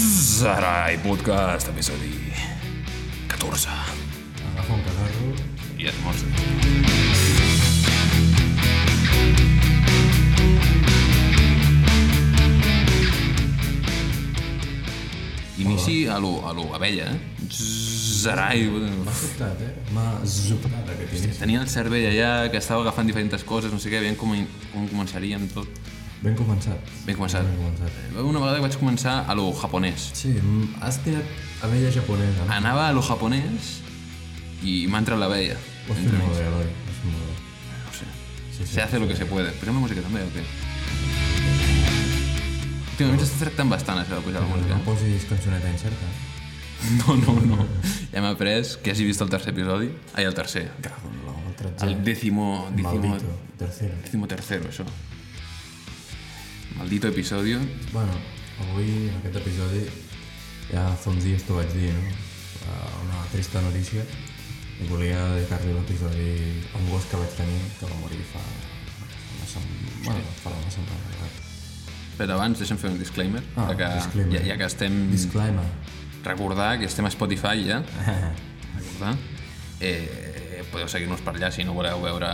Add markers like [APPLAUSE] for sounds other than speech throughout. Sarai Podcast, episodi 14. Agafa un cagarro. I esmorzo. Inici a lo, a lo abella, eh? Sarai... M'ha sobtat, eh? M'ha sobtat aquest inici. Tenia el cervell allà, que estava agafant diferents coses, no sé què, aviam com, com començaria amb tot. Ben començat. Ben començat. Ben començat. eh? Una vegada vaig començar a lo japonès. Sí, mm, has tirat abella japonesa, no? Anava a lo japonès i m'ha entrat l'abella. Ho has fet molt bé, Eloi. Ho has fet molt bé. No sé. Sí, sí. Se hace lo que se puede. Posem la música també, o què? [LAUGHS] Últimament s'està tractant bastant això de pujar la música. No posis cançoneta incerta. No, no, no. Ja m'ha après que hagi vist el tercer episodi. Ai, el tercer. Cago en la el El tretzè. décimo... décimo Maldito. Tercero. décimo tercero, això. Maldito episodio. Bueno, avui, en aquest episodi, ja fa uns dies t'ho vaig dir, no? Eh, Una trista notícia. I volia dedicar-li l'episodi a un gos que vaig tenir, que va morir fa una setmana. Bueno, fa una setmana. eh? Però abans deixa'm fer un disclaimer, Ah, ja, que, disclaimer. Ja, ja que estem... Disclaimer. Recordar que estem a Spotify, ja. recordar. Eh, podeu seguir-nos per allà si no voleu veure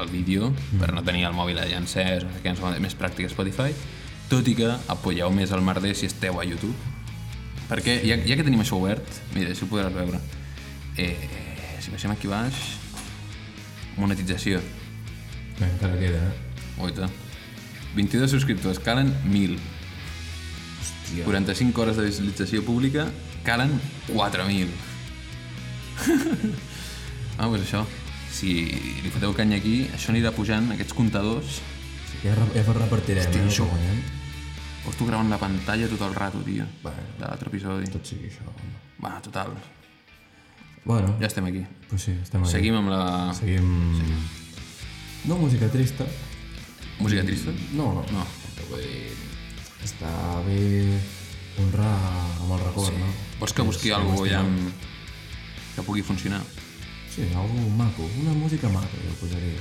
el vídeo, per no tenir el mòbil allà encès, no sé què, ens fa més pràctic Spotify, tot i que apoyeu més el merder si esteu a YouTube. Perquè ja, ja que tenim això obert, mira, si ho podràs veure. Eh, si baixem aquí baix, monetització. Bé, encara queda, eh? Oita. 22 subscriptors, calen 1.000. Hòstia. 45 hores de visualització pública, calen 4.000. [LAUGHS] ah, doncs això. Si li foteu canya aquí, això anirà pujant, aquests comptadors. Ja, re- ja vos repartirem, Hosti, eh? això- Això... Guanyem. Ho estic gravant la pantalla tot el rato, tio. Bueno. De l'altre episodi. Tot sigui això. home. Va, total. Bueno, Ja estem aquí. pues sí, estem aquí. Seguim amb la Seguim... Seguim. No música trista. música trista. No, no. No. Vull dir... Està bé honrar amb el record, sí. no? Vols que busqui alguna cosa ja amb... que pugui funcionar? Sí, algo maco. Una música maca, jo posaria.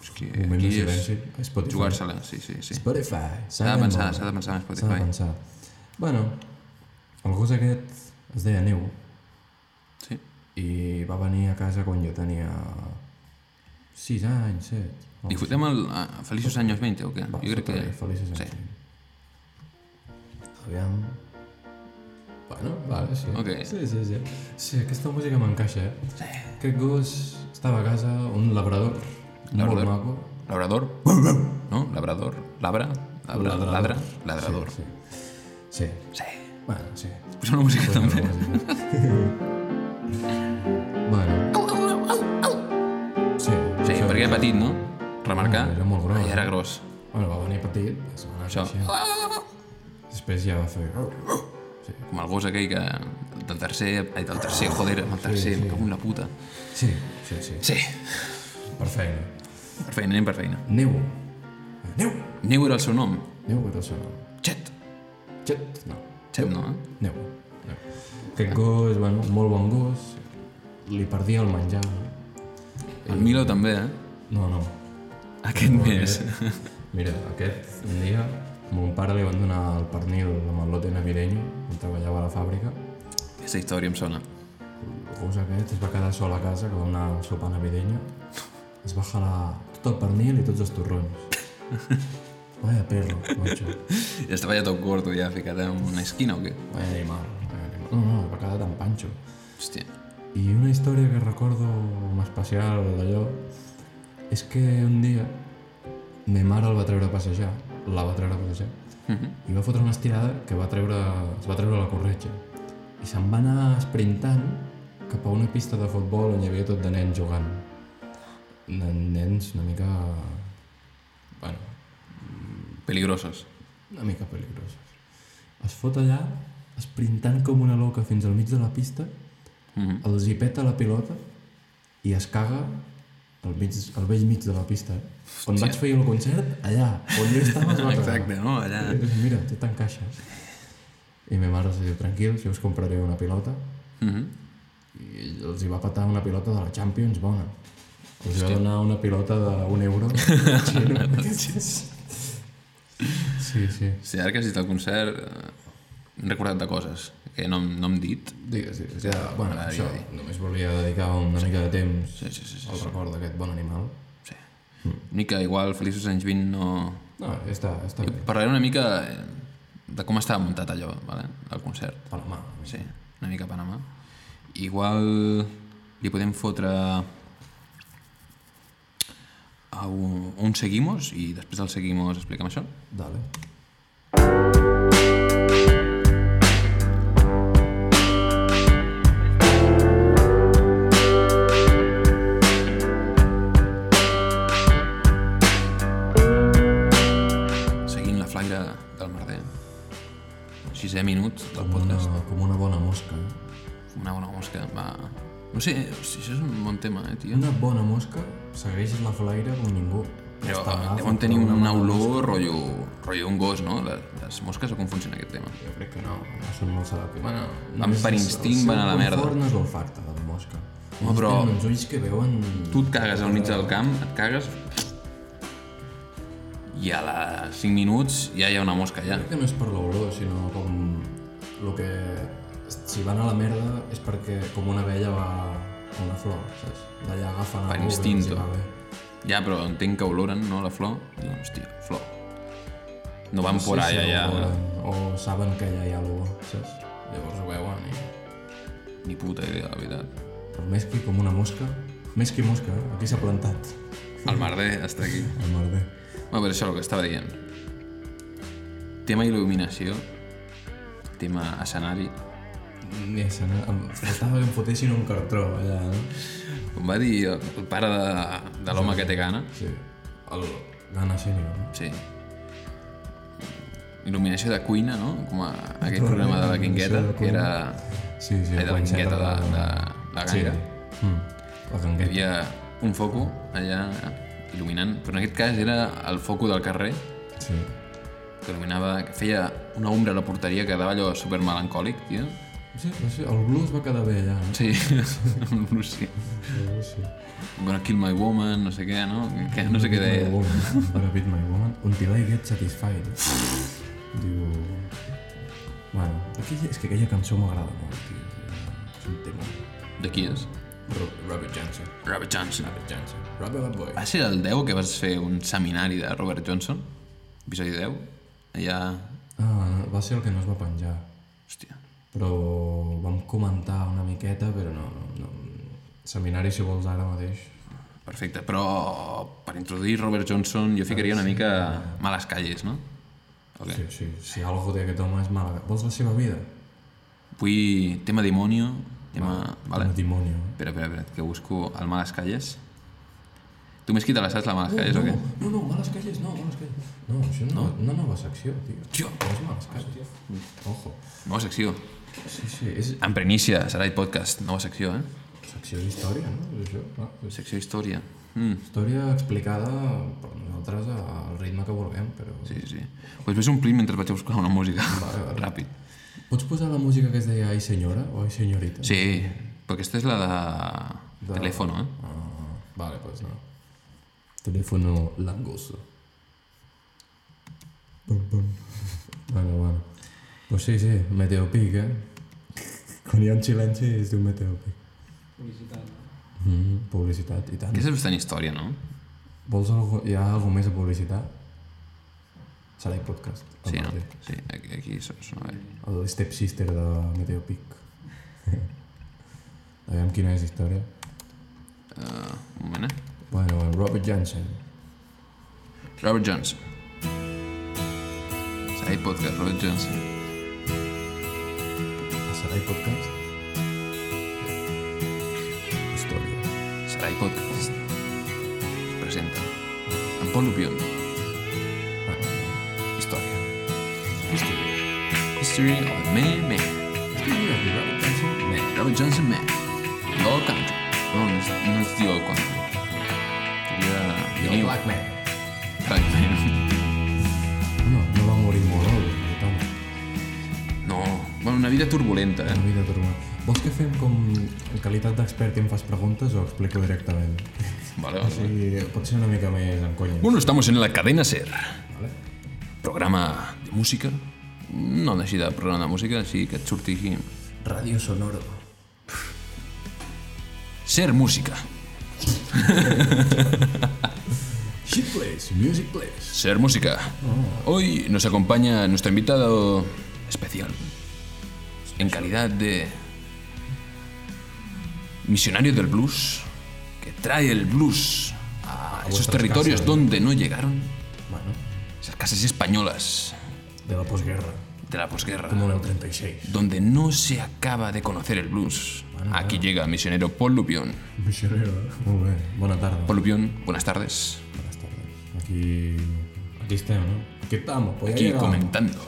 És que Un moment de aquí és silenci. A Spotify. jugar-se-la, sí, sí, sí. Spotify. S'ha de pensar, molt. s'ha de pensar en S'ha de Spotify. pensar. Bueno, el gos aquest es deia Neu Sí. i va venir a casa quan jo tenia 6 anys, 7. No, Li fotem el ah, Feliços Años 20 o què? va, Jo crec que... fotre-li, Felices anys. Sí. Aviam... Bueno, vale, sí. Ok. Sí, sí, sí. Sí, aquesta música m'encaixa, eh? Sí. Aquest gos estava a casa, un labrador, Labrador. molt maco. Labrador. No? Labrador. Labra. Labra. Labrador. Ladra. Labrador. Sí, sí. sí. Sí. Bueno, [LAUGHS] sí. Posa una música també. bueno, sí. Sí, això- perquè era petit, no? Remarcar. Era molt gros. eh? Ah, ja era gros. Bueno, va venir petit, es va anar Això. creixent. Després ja va fer... "Oh, Com el gos aquell que... Del tercer... Ai, del tercer, Ah, joder, amb el tercer. Sí, sí. Com la puta. Sí, sí, sí. Sí. Per feina. Per feina, anem per feina. Neu. Neu. Neu era el seu nom. Neu era el seu nom. Chet. Xet. No. Chet, no, eh? Neu. Neu. Aquest gos, bueno, molt bon gos. Li perdia el menjar. El Milo també, eh? No, no. Aquest més. [LAUGHS] Mira, aquest un dia mon pare li van donar el pernil amb el lote navideño on treballava a la fàbrica. Aquesta història em sona. El gos aquest es va quedar sol a casa que va anar al sopar navideño. Es va jalar tot el pernil i tots els torrons. [LAUGHS] Vaya perro, macho. Ja estava ja tot gordo, ja ficat en una esquina o què? Vaya animal. Vaya animal. No, no, es va quedar tan panxo. Hòstia. I una història que recordo en especial d'allò és que un dia me mare el va treure a passejar, la va treure a passejar, i va fotre una estirada que va treure, es va treure la corretja. I se'n va anar sprintant cap a una pista de futbol on hi havia tot de nens jugant. De nens una mica... Bueno, Peligrosos. una mica peligrosos. Es fot allà, esprintant com una loca fins al mig de la pista, Mhm. els hi peta la pilota i es caga al, mig, al vell mig de la pista. eh? Quan vaig fer jo el concert, allà, on jo estava es va cagar. Exacte, no? Allà... I dius, Mira, tot encaixa. I ma mare els diu, tranquils, jo us compraré una pilota. Mhm. I ell els hi va petar una pilota de la Champions bona. Els [LAUGHS] va donar una pilota d'un euro. Sí, no? sí, Sí, sí. Sí, ara que has dit el concert, eh, he recordat de coses que no, hem- no hem dit. Digues, digues. Ja, bueno, M'agradaria això, només volia dedicar una mica de temps Sí, sí, sí. sí. al record d'aquest bon animal. sí. Mica, igual, feliços anys 20 no... No, ja està, ja està bé. Parlaré una mica eh, de com estava muntat allò, vale? el concert. Panamà. Sí, una mica Panamà. Igual li podem fotre a un, un seguimos i després del seguimos explica'm això. Dale. Seguint la flaire del merder. Sisè minut del Com una, podcast. com una bona mosca. eh? Una bona mosca va... No sé, hosti, això és un bon tema, eh, tio? Una bona mosca segueixes la flaire com ningú. Però eh, Està mal, deuen tenir però una mala olor rotllo, rotllo un gos, no? Les, les mosques o com funciona aquest tema? Jo crec que no, no són molt selectives. Bueno, van per instinct, van a la El merda. seu confort no és l'olfacte de la mosca. Home, Ells però- tenen uns ulls que veuen... Tu et cagues al mig del camp, et cagues... I a les 5 minuts ja hi ha una mosca allà. Crec que no és per l'olor, sinó com... El que... Si van a la merda és perquè com una abella va a una flor, saps? D'allà agafen Per algú que els instinto. hi va bé. Ja, però entenc que oloren, no?, la flor. Diuen, hòstia, flor. No van No por sé si allà, ja... ho volen, O saben que allà hi ha algú, saps? Llavors ho veuen i... Ni puta idea, la veritat. El mesqui com una mosca. Mesqui mosca, eh? aquí s'ha plantat. El merder està aquí. El merder. Bueno, però això és el que estava dient. Tema il·luminació, tema escenari. Ni esa, no? Em faltava que em fotessin un cartró allà, no? Com va dir el el pare de, de l'home que té gana, Sí. El Gana Senior, no? sí. Il·luminació de cuina, no? Com a aquell programa de la Quingueta, que era... Sí, sí. Ai, de la quan s'entra Quingueta, de, de la Sí. Ganga. Mm. La Hi gangueta. havia un foco allà il·luminant, però en aquest cas era el foco del carrer, Sí. que il·luminava, que feia una ombra a la porteria que dava allò super melancòlic, tio. Sí, va ser- el blues va quedar bé allà, no? Sí, [LAUGHS] amb Lucy. Sí, sí. Gonna kill my woman, no sé què, no? Que, no sé què My deia. woman, Para beat my woman. Until I get satisfied. Diu... Bueno, aquella, és que aquella cançó m'agrada molt, tio. És un tema. De qui és? Ro- Robert Johnson. Robert Johnson. Robert Johnson. Robert Boy. Va ser el 10 que vas fer un seminari de Robert Johnson? Episodi 10? Allà... Ah, va ser el que no es va penjar. Hòstia. però vam comentar una miqueta, però no, no, no. Seminari, si vols, ara mateix. Perfecte, però per introduir Robert Johnson jo ficaria una mica males calles, no? Okay. Sí, sí, si algo té aquest home és mala. Vols la seva vida? Vull tema demonio, tema... Vale. Un demonio. Espera, espera, espera, que busco el Males Calles. Tu més qui te la saps, la Males Calles, no, o què? no, no, males calles, no, males calles. No, això no, no, no nova secció, tio. Tio, no és males calles. Ojo. Nova secció. Sí, sí, és En prenícia, serà el podcast. Nova secció, eh? secció d'història, no? És això, clar. És Secció història. Mm, història explicada per nosaltres al ritme que vulguem, però... sí, sí. Pues ves un plim mentre vaig a buscar una música. Ràpid. Pots posar la música que es deia Ai senyora o Ai senyorita? Sí, però aquesta és la de... de... Telefono, eh? Ah, vale, pues no. Teléfono langoso. Pum, pum. Bueno, bueno. Pues sí, sí, Meteopic, eh? Quan hi ha un xilenci es diu Meteopic. Publicitat, no? Mm, publicitat, i tant. Aquesta és bastant història, no? Vols algo, hi ha alguna més a publicitat? Serà el podcast. el Sí, no? mateix. Sí, aquí, aquí so- sona bé. El stepsister de Meteopic. [LAUGHS] Aviam quina és història. Uh, un moment, eh? Bueno, bueno, Robert Johnson. Robert Johnson. Serà el podcast, Robert Johnson. Sarai Podcast. Història. Sarai Podcast presenta en Pol Lupion Història History of Man Man Man Robert Johnson Man The Old Country no, no és, no és The Old Country seria The New Black Man. [LAUGHS] Man No, no va morir molt, eh, oi? Tothom. no bueno, una vida turbulenta eh? Una vida tornada. Vols que fem com en qualitat d'expert i em fas preguntes o ho explico directament? vale, vale. Sí, pot ser una mica més en conya. bueno estamos en la cadena SER Vale? programa de música, no així de programa de música, així que et surti així. Radio Sonoro. Ser música. Shit Place, Music Place. Ser música. Hoy nos acompaña nuestro invitado especial. En calidad de misionario del blues, que trae el blues a esos vuestras territorios casas. donde no llegaron, Bueno, esas casas españolas de la posguerra, de la posguerra. como en el 36. donde no se acaba de conocer el blues. Aquí llega misionero Paul Lupión. Misionero. Molt bé, bona tarda. Paul Lupión, buenas tardes. Buenas tardes. Aquí... Aquí estem, no? Aquí estamos, pues Aquí ya llegamos. comentando,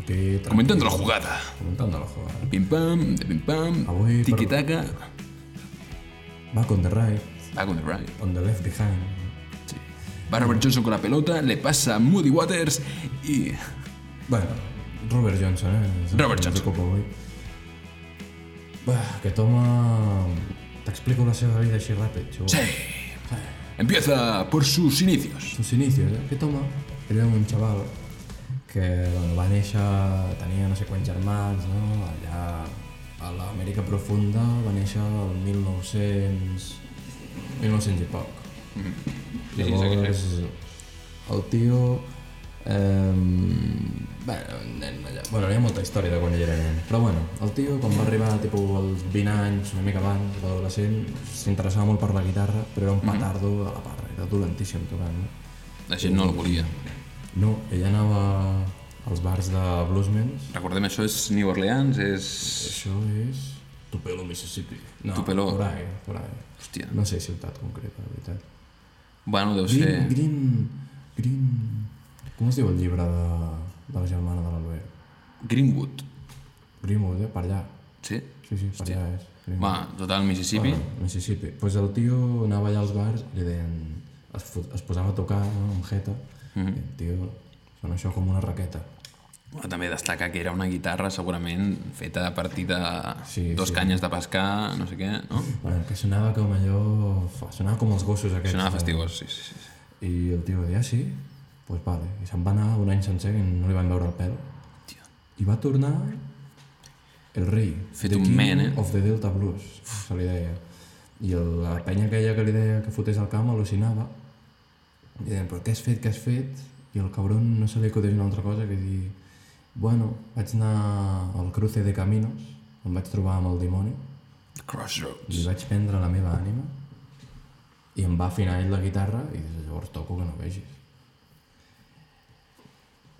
Aquí tranquilo. comentando la jugada. Comentando la jugada. Pim pam, de pim pam, Avui, per- tiki taka, Back on the right, back on the right. on the left behind. Sí. Va Robert Johnson con la pelota, le pasa a Moody Waters y Bueno, Robert Johnson, eh? Robert Un Johnson. Copa avui. Bah, que toma... T'explico la seva vida així ràpid, xavo. sí. Empieza por sus inicios. sus inicios, eh? que toma, era un xaval que bueno, va néixer, tenia no sé quants germans, no? allà a l'Amèrica Profunda va néixer el 1900... 1900 i poc. Sí, sí, Llavors, el tio... Eh, bueno, un nen allà. Bueno, hi ha molta història de quan ell era nen. Però bueno, el tio, quan va arribar tipus als 20 anys, una mica abans, adolescent, s'interessava molt per la guitarra, però era un petardo a la parra, era dolentíssim tocant. No? Mhm. La gent no el volia. No, ell anava als bars de bluesmans. Recordem, això és New Orleans, eh, és... Això és... Tupelo, Mississippi. No, Tupelo. Por ahí, por ahí. Hòstia. No sé ciutat concreta, la veritat. Bueno, deu Green, ser... Green... Green... Com es diu el llibre de, de la germana de l'Albert? Greenwood, Greenwood, eh? Per allà. sí? Sí, sí, per allà és. Greenwood. Va, total, Mississippi. Bueno, Mississippi. Doncs pues el tio anava allà als bars i li deien... Es, fot- es posava a tocar no? amb jeta. Mm Mhm. -hmm. I el tio... Sona això com una raqueta. Bueno, també destacar que era una guitarra segurament feta a partir de Sí, dos sí. canyes de pescar, no sé què, no? Bueno, que sonava com allò... fa, Sonava com els gossos aquests. Sonava de- fastigós, sí, sí, sí. I el tio va dir, ah, sí? Doncs pues vale. I se'n va anar un any sencer i no li van veure el pèl. I va tornar el rei. Fet the un king man, eh? of the Delta Blues, se li deia. I el, la penya aquella que li deia que fotés al camp al·lucinava. I deien, però què has fet, què has fet? I el cabron no se li acudeix una altra cosa que dir... Bueno, vaig anar al cruce de caminos, em vaig trobar amb el dimoni, Crossroads. li Doncs vaig prendre la meva ànima i em va afinar ell la guitarra i des de llavors toco que no vegis.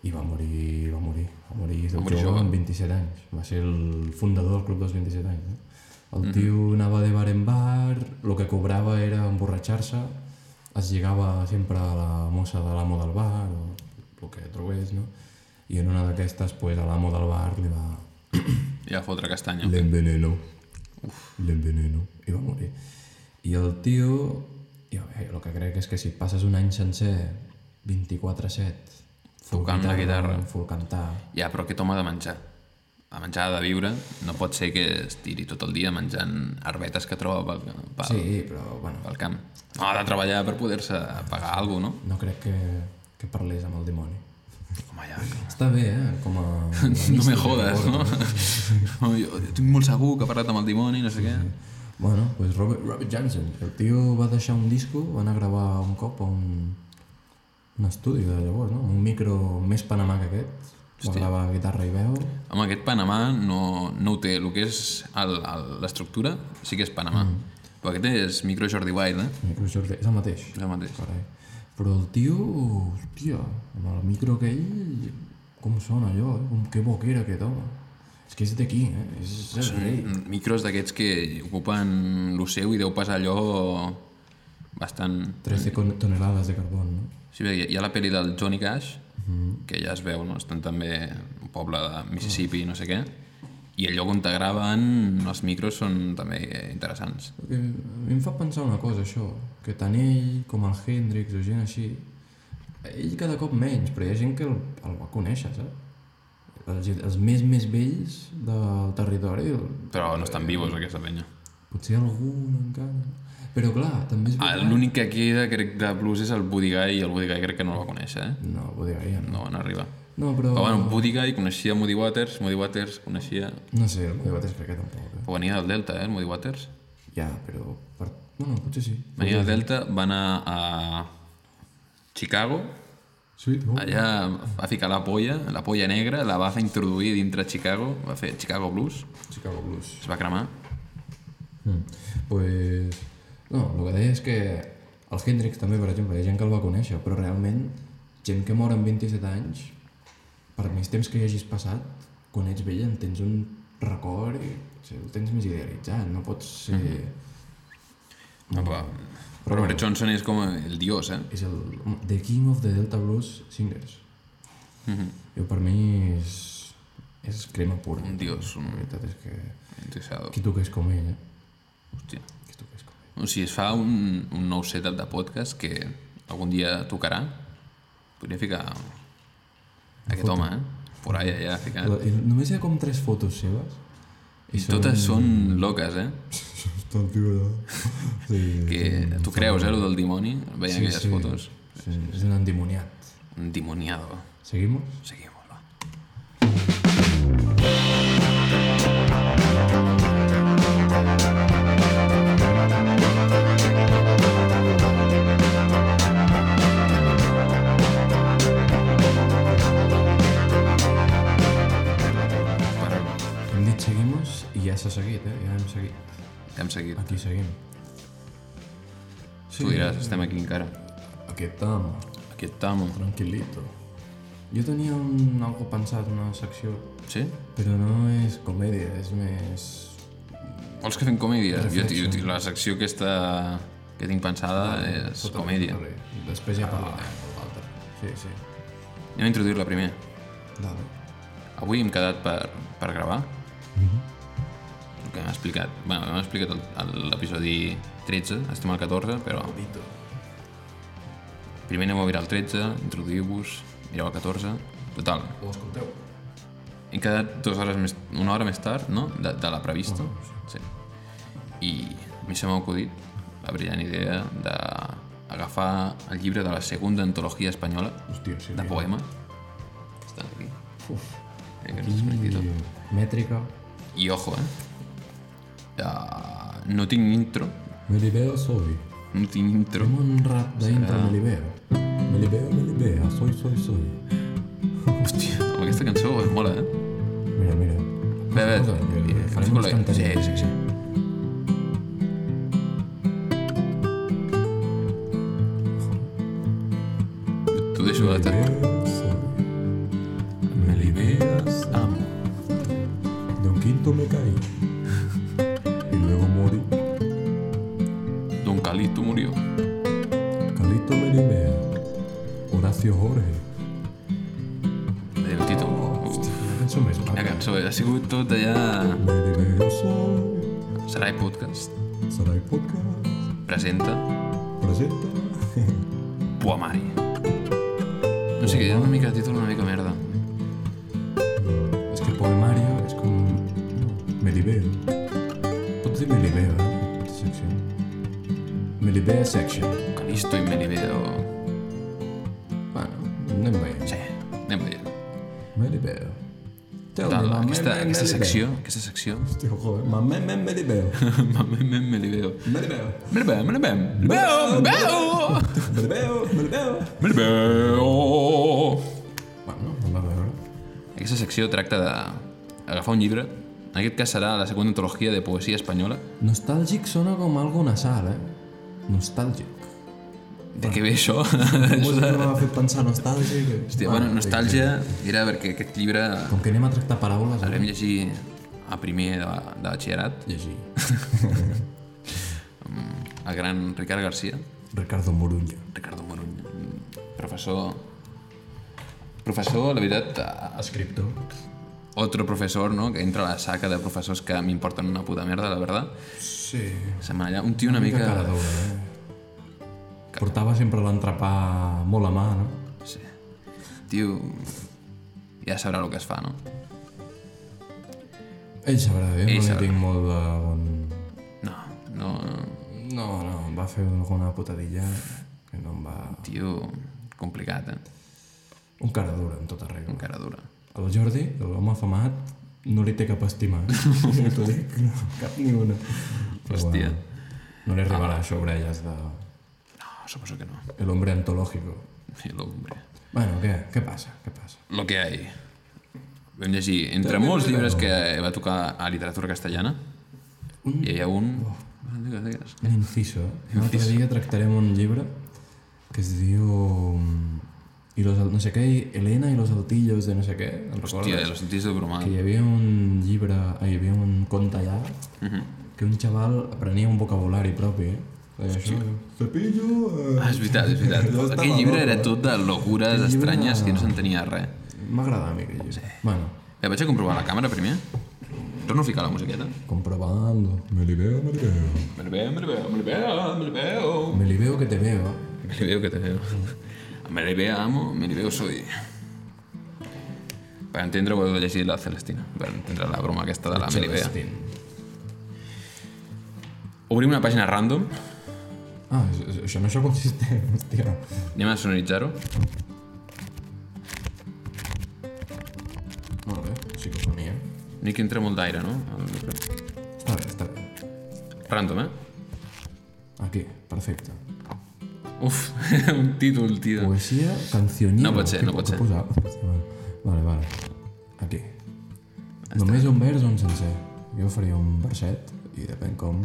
I va morir, va morir, va morir de morir jove, jove. amb 27 anys. Va ser el fundador del club dels 27 anys. No? El tio anava de bar en bar, el que cobrava era emborratxar-se, es lligava sempre a la mossa de l'amo del bar o el que trobés, no? I en una d'aquestes, pues, a l'amo del bar li va, Ja fotre castanya. L'envenenó. L'envenenó. I va morir. I el tio... Jo, bé, el que crec és que si passes un any sencer, 24-7, full Tocant la guitarra. full cantar... Ja, però què toma de menjar? A menjar ha de viure, no pot ser que es tiri tot el dia menjant arbetes que troba pel, pel, Sí, però, bueno, pel camp. No, ha de treballar per poder-se pagar alguna cosa, no crec que, que parlés amb el dimoni. no? Home, ja. Està bé, eh? Com a... [LAUGHS] No me jodes, no? no jo, jo tinc molt segur que ha parlat amb el dimoni, no sé què. Bueno, pues Robert, Robert Johnson. El tio va deixar un disco, va anar a gravar un cop a un, un estudi de llavors, no? Un micro més panamà que aquest. Va gravar guitarra i veu. Home, aquest Panamà no, no ho té. El que és el- el- l'estructura sí que és Panamà. Mm. Però aquest és micro Jordi Wild, eh? Micro Jordi, és el mateix. És el mateix. Carai. Però el tio, hòstia, amb el micro aquell, com sona allò, eh? Com que bo que era aquest home. És que és d'aquí, eh? És, és el rei. Mm, Micros d'aquests que ocupen lo seu i deu passar allò bastant... 13 con- tonelades de carbón, no? Sí, bé, hi ha la pel·li del Johnny Cash, que ja es veu, no? Estan també un poble de Mississippi, no sé què, i el lloc on te graven els micros són també interessants. Perquè a mi em fa pensar una cosa, això, que tant ell com el Hendrix o gent així, ell cada cop menys, però hi ha gent que el, el va conèixer, saps? Els, els més més vells del territori, el, Però no estan vivos, aquesta penya. potser algun encara... Però clar, també és Ah, veritat... L'únic que queda, crec, de blues és el Buddy Guy, i el Buddy Guy crec que no el va conèixer, eh? No, ho diria, no. No van arribar. No, però... Però bueno, Buddy Guy coneixia Moody Waters, Moody Waters coneixia... No sé, el Moody Waters crec que tampoc. Eh? Però venia del Delta, eh, el Moody Waters. Ja, però... Per... Bueno, potser sí. Venia del Delta, va anar a Chicago, Sweet Home. allà va ficar la polla, la polla negra, la va fer introduir dintre Chicago, va fer Chicago Blues, Chicago Blues. es va cremar. Mm. Pues... No, el que deia és que el Hendrix també, per exemple, hi ha gent que el va conèixer, però realment gent que mor amb 27 anys, per més temps que hi hagis passat, quan ets vell en tens un record i o sigui, el tens més idealitzat, no pots ser... No, però, però Robert Johnson és com el dios, eh? És el The King of the Delta Blues Singers. Jo per mi és, és crema pura. Un dios, un La veritat és que interesado. qui toqués com ell, eh? Hòstia. Qui toqués com ell. O sigui, es fa un, un nou setup de podcast que algun dia tocarà. Podria ficar aquest home, eh? Por allà, ja, ficat. La- i Només hi ha com tres fotos seves I totes són loques, eh? Tan figurada. [LAUGHS] Sí, Que tu creus, eh, lo del dimoni, veient aquelles sí. fotos. sí, és un endimoniat. Un demoniado. Seguimos? Seguimos, va. Bueno, Hem dit seguimos i ja s'ha seguit, eh? Ja hem seguit. ja hem seguit. Aquí seguim. Tu diràs, estem aquí encara. Aquí estem, Aquí estamos. tranquilito. Jo tenia un, algo pensat, una secció, Sí? però no és comèdia, és més... Vols que fem comèdia? Jo, jo, jo, la secció aquesta que tinc pensada és comèdia. Vale, Després Ah. ja parlarem de l'altre. Sí, sí. Anem a introduir-la primer. Dale. Avui hem quedat per, per gravar. El que hem explicat... Bé, hem explicat el- el- l'episodi 13, estem al 14, però Dito. primer anem a mirar el 13, introduïu-vos, mireu el 14... Total, Ho escolteu? hem quedat dues hores més, una hora més tard, no?, de, de la prevista. Sí. I a mi se m'ha acudit la brillant idea d'agafar el llibre de la segunda antologia espanyola Hòstia, sí. de poema. Està aquí. Uf. Eh, que no s'ha escrit i tot. Mètrica. I ojo, eh? Uh, no tinc intro. Melibeo soy. No tinc intro. Tengo un rap de intro, Melibeo. Melibeo, Melibeo, soy, soy, soy. Hòstia, amb aquesta cançó es mola, eh? Mira, mira. Bé, bé, Posa, que eh, farem unes escolta, sí, cantarelles. sí, sí. T'ho deixo a la teva. Melibeo soy. Melibeas amo. De un quinto me caí. Y luego morí. Don Calito murió. Calito Melibea. Horacio Jorge. Deia el títol. Uf, Quina cançó més Quina maca. cançó, eh? ha sigut tot allà... Melibeo soy. Sarai Podcast Sarai Podcast. presenta Presenta. Poemari. No sé, que era una mica de títol, una mica merda. És que poemario és com... Melibeo. Pots dir Melibeo, eh? aquesta secció. Melibea section. Calisto i Melibeo... Bueno, anem veient. Sí, anem veient. Melibeo. Tell Total, my aquesta, man, aquesta Melibeo. secció, aquesta secció... [LAUGHS] Hòstia, joder, my man, man, Melibeo. Mame, mem, Melibeo. Melibeo. Melibeo, Melibeo, Melibeo, Melibeo, Melibeo, Melibeo. Melibeo... Bueno, anem a veure. Aquesta secció tracta de agafar un llibre, en aquest cas serà la segona antologia de poesia espanyola. Nostàlgic sona com algo nasal, eh? [LAUGHS] Nostàlgic. De què ve això? [LAUGHS] Com us m'ha fet pensar nostàlgic? Hòstia, bueno, nostàlgia era perquè aquest llibre Com que anem a tractar paraules, el vam llegir a primer de, de batxillerat, llegir. el gran Ricard Garcia, Ricardo Moruño. Ricardo Moruny, professor... Professor, la veritat, eh, Escriptor. otro profesor, ¿no? Que entra a la saca de profesores que me importan una puta mierda, la verdad. Sí. Se me allà, un tío una Mica cara mica... d'obra, eh? Portava sempre l'entrepà molt a mà, no? Sí. Tio, ja sabrà el que es fa, no? Ell sabrà, eh? Ell Ell sabrà. sabrà. tinc molt de bon... No, no... No, no, em va fer alguna putadilla que no em va... Tio, complicat, eh? Un cara dura, en tota regla. Encara dura. El Jordi, l'home afamat, no li té cap estima. eh? [LAUGHS] Ja T'ho dic, no, cap ni una. Però, Hòstia. no li arribarà això orelles de... No, suposo que no. El hombre antológico. El hombre. Bueno, què, què passa? Què passa? Lo que hay. Vam llegir, entre molts llibres que va tocar a literatura castellana, hi havia un... Ah, Digues, digues. Un inciso. Un altre dia tractarem un llibre que es diu... I los, no sé què, i Elena i los altillos de no sé què, en Hòstia, recordes? lo sentís de bromar. Que hi havia un llibre, ai, hi havia un conte allà, que un xaval aprenia un vocabulari propi, eh? Deia això, cepillo... Eh... Ah, és veritat, és veritat. Allò estava Aquell llibre loco, era eh? tot de locures Aquell llibre estranyes era- que no s'entenia res. M'agrada a mi aquell llibre. Bueno, Bé, vaig a comprovar la càmera primer. Torno a ficar la musiqueta. comprobando. Me li veo, me li veo. Me li veo, me li veo, me li veo, me li veo. Me li veo que te veo. Me li veo que te veo. Me li veo amo, me li veo soy. Per entendre ho heu de llegir la Celestina, per entendre la broma aquesta de la me li veo. Obrim una pàgina random, Ah, és- és- això no això [LAUGHS] consistent, hòstia. anem a sonoritzar-ho. Molt bé, psicofonia. Ni que entra molt d'aire, no? al micro. Està bé, està bé. Random, eh? Aquí, perfecte. Uf, [LAUGHS] un títol, tio. Poesia, cancionera... No pot ser, Què no pot po- ser. què posar? Hòstia, Vale, vale, vale. Aquí. Només un vers o un sencer. Jo faria un verset i depèn com...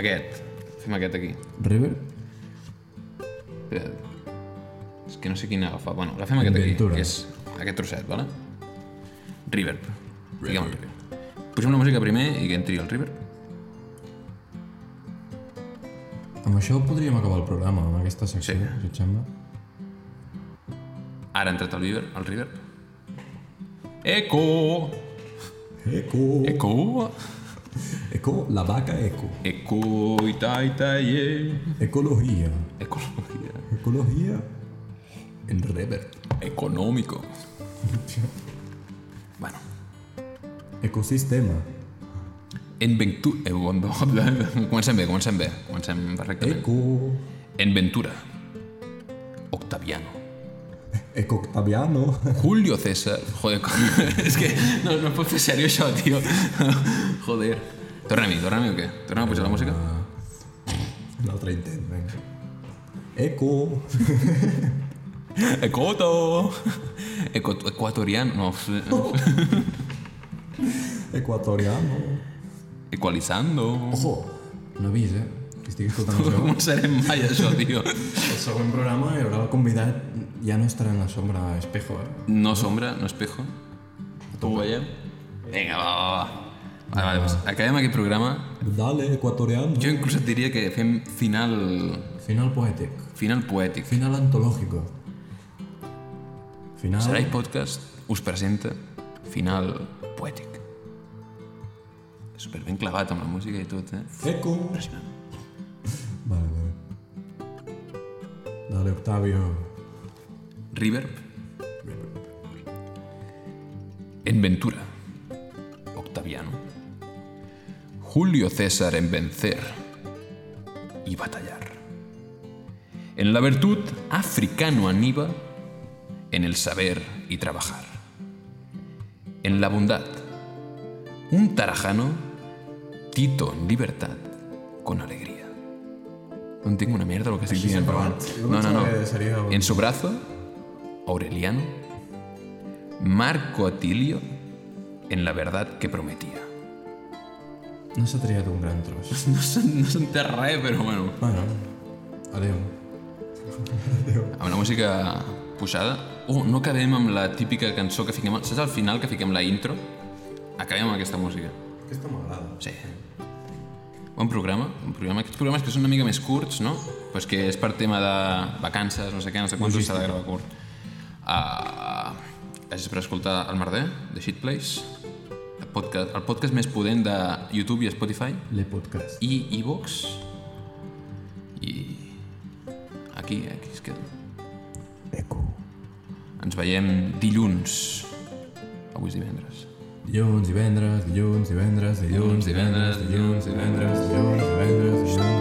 Aquest. Fem aquest aquí. River, Espera't. És que no sé quin agafar. Bueno, agafem aquest aquí, Ventura. que és aquest trosset, vale? Reverb. Digue'm el reverb. Posem la música primer i que entri el reverb. amb això podríem acabar el programa, amb aquesta secció, Sí. si et sembla. Ara ha entrat el reverb. El reverb. Eco! Eco, [LAUGHS] Eco! eco, la vaca eco. Eco i tai tai ye. Ecologia, Ecologia. ecologia en reverb. Económico. Bueno. Ecosistema, En Ventura... Eh, bon- [LAUGHS] bon- comencem bé, comencem bé. Comencem perfectament. eco, En Ventura. Octaviano. eco Octaviano. Julio César. Joder, [LAUGHS] es que no, no puedo ser serio yo, tío. [LAUGHS] Joder. Torna a mí, torna a mí o qué? Torna a escuchar la música. Un altre intent, vinga. Eco, [LAUGHS] Ecoto. Eco- ecuatoriano. No. [LAUGHS] f- equatoriano. Ecualizando. Ojo, un avís, eh? Que estic escoltant això. [LAUGHS] Com serem mai això, tio? El següent programa hi haurà el convidat, ja no estarà en la sombra espejo, eh? No sombra, no espejo. Ho veiem? Vinga, va, va, va. Vale, vale, pues acabem aquest programa. Dale, equatoriano. Jo inclús et diria que fem final... Final poètic, Final poètic. final antológico. Final... Sarai Podcast us presenta Final Poètic. Super ben clavat amb la música i tot, eh? Eco. Impressionant. Vale, vale. Dale, Octavio. Reverb. En Ventura. Octaviano. Julio César en vencer y batallar. En la virtud africano Aníbal, en el saber y trabajar. En la bondad, un tarajano, Tito en libertad, con alegría. No entiendo una mierda lo que estoy Així diciendo. s'ha però acabat. bueno. No, no, Jo pensava que seria no. un- En su brazo, Aureliano, Marco Atilio, en la verdad que prometía. No s'ha triat un gran tros. No, se- no s'entén res, però bueno. Bueno, adeu. Amb la música posada... Oh, no acabem amb la típica cançó que fiquem... Saps al final que fiquem la intro? Acabem amb aquesta música. Aquesta m'agrada. Sí. Bon programa, bon programa. Aquests programes que són una mica més curts, no? Però és que és per tema de vacances, no sé què, no sé quantos s'ha de gravar curt. Uh, gràcies per escoltar El Merder, de Shit Place, el podcast, el podcast més potent de YouTube i Spotify, Le podcast. i iVox, i aquí, aquí es queda. Eco. Ens veiem dilluns, avui és divendres. Dilluns, divendres, dilluns, divendres, dilluns, divendres, dilluns, divendres, dilluns, divendres, dilluns.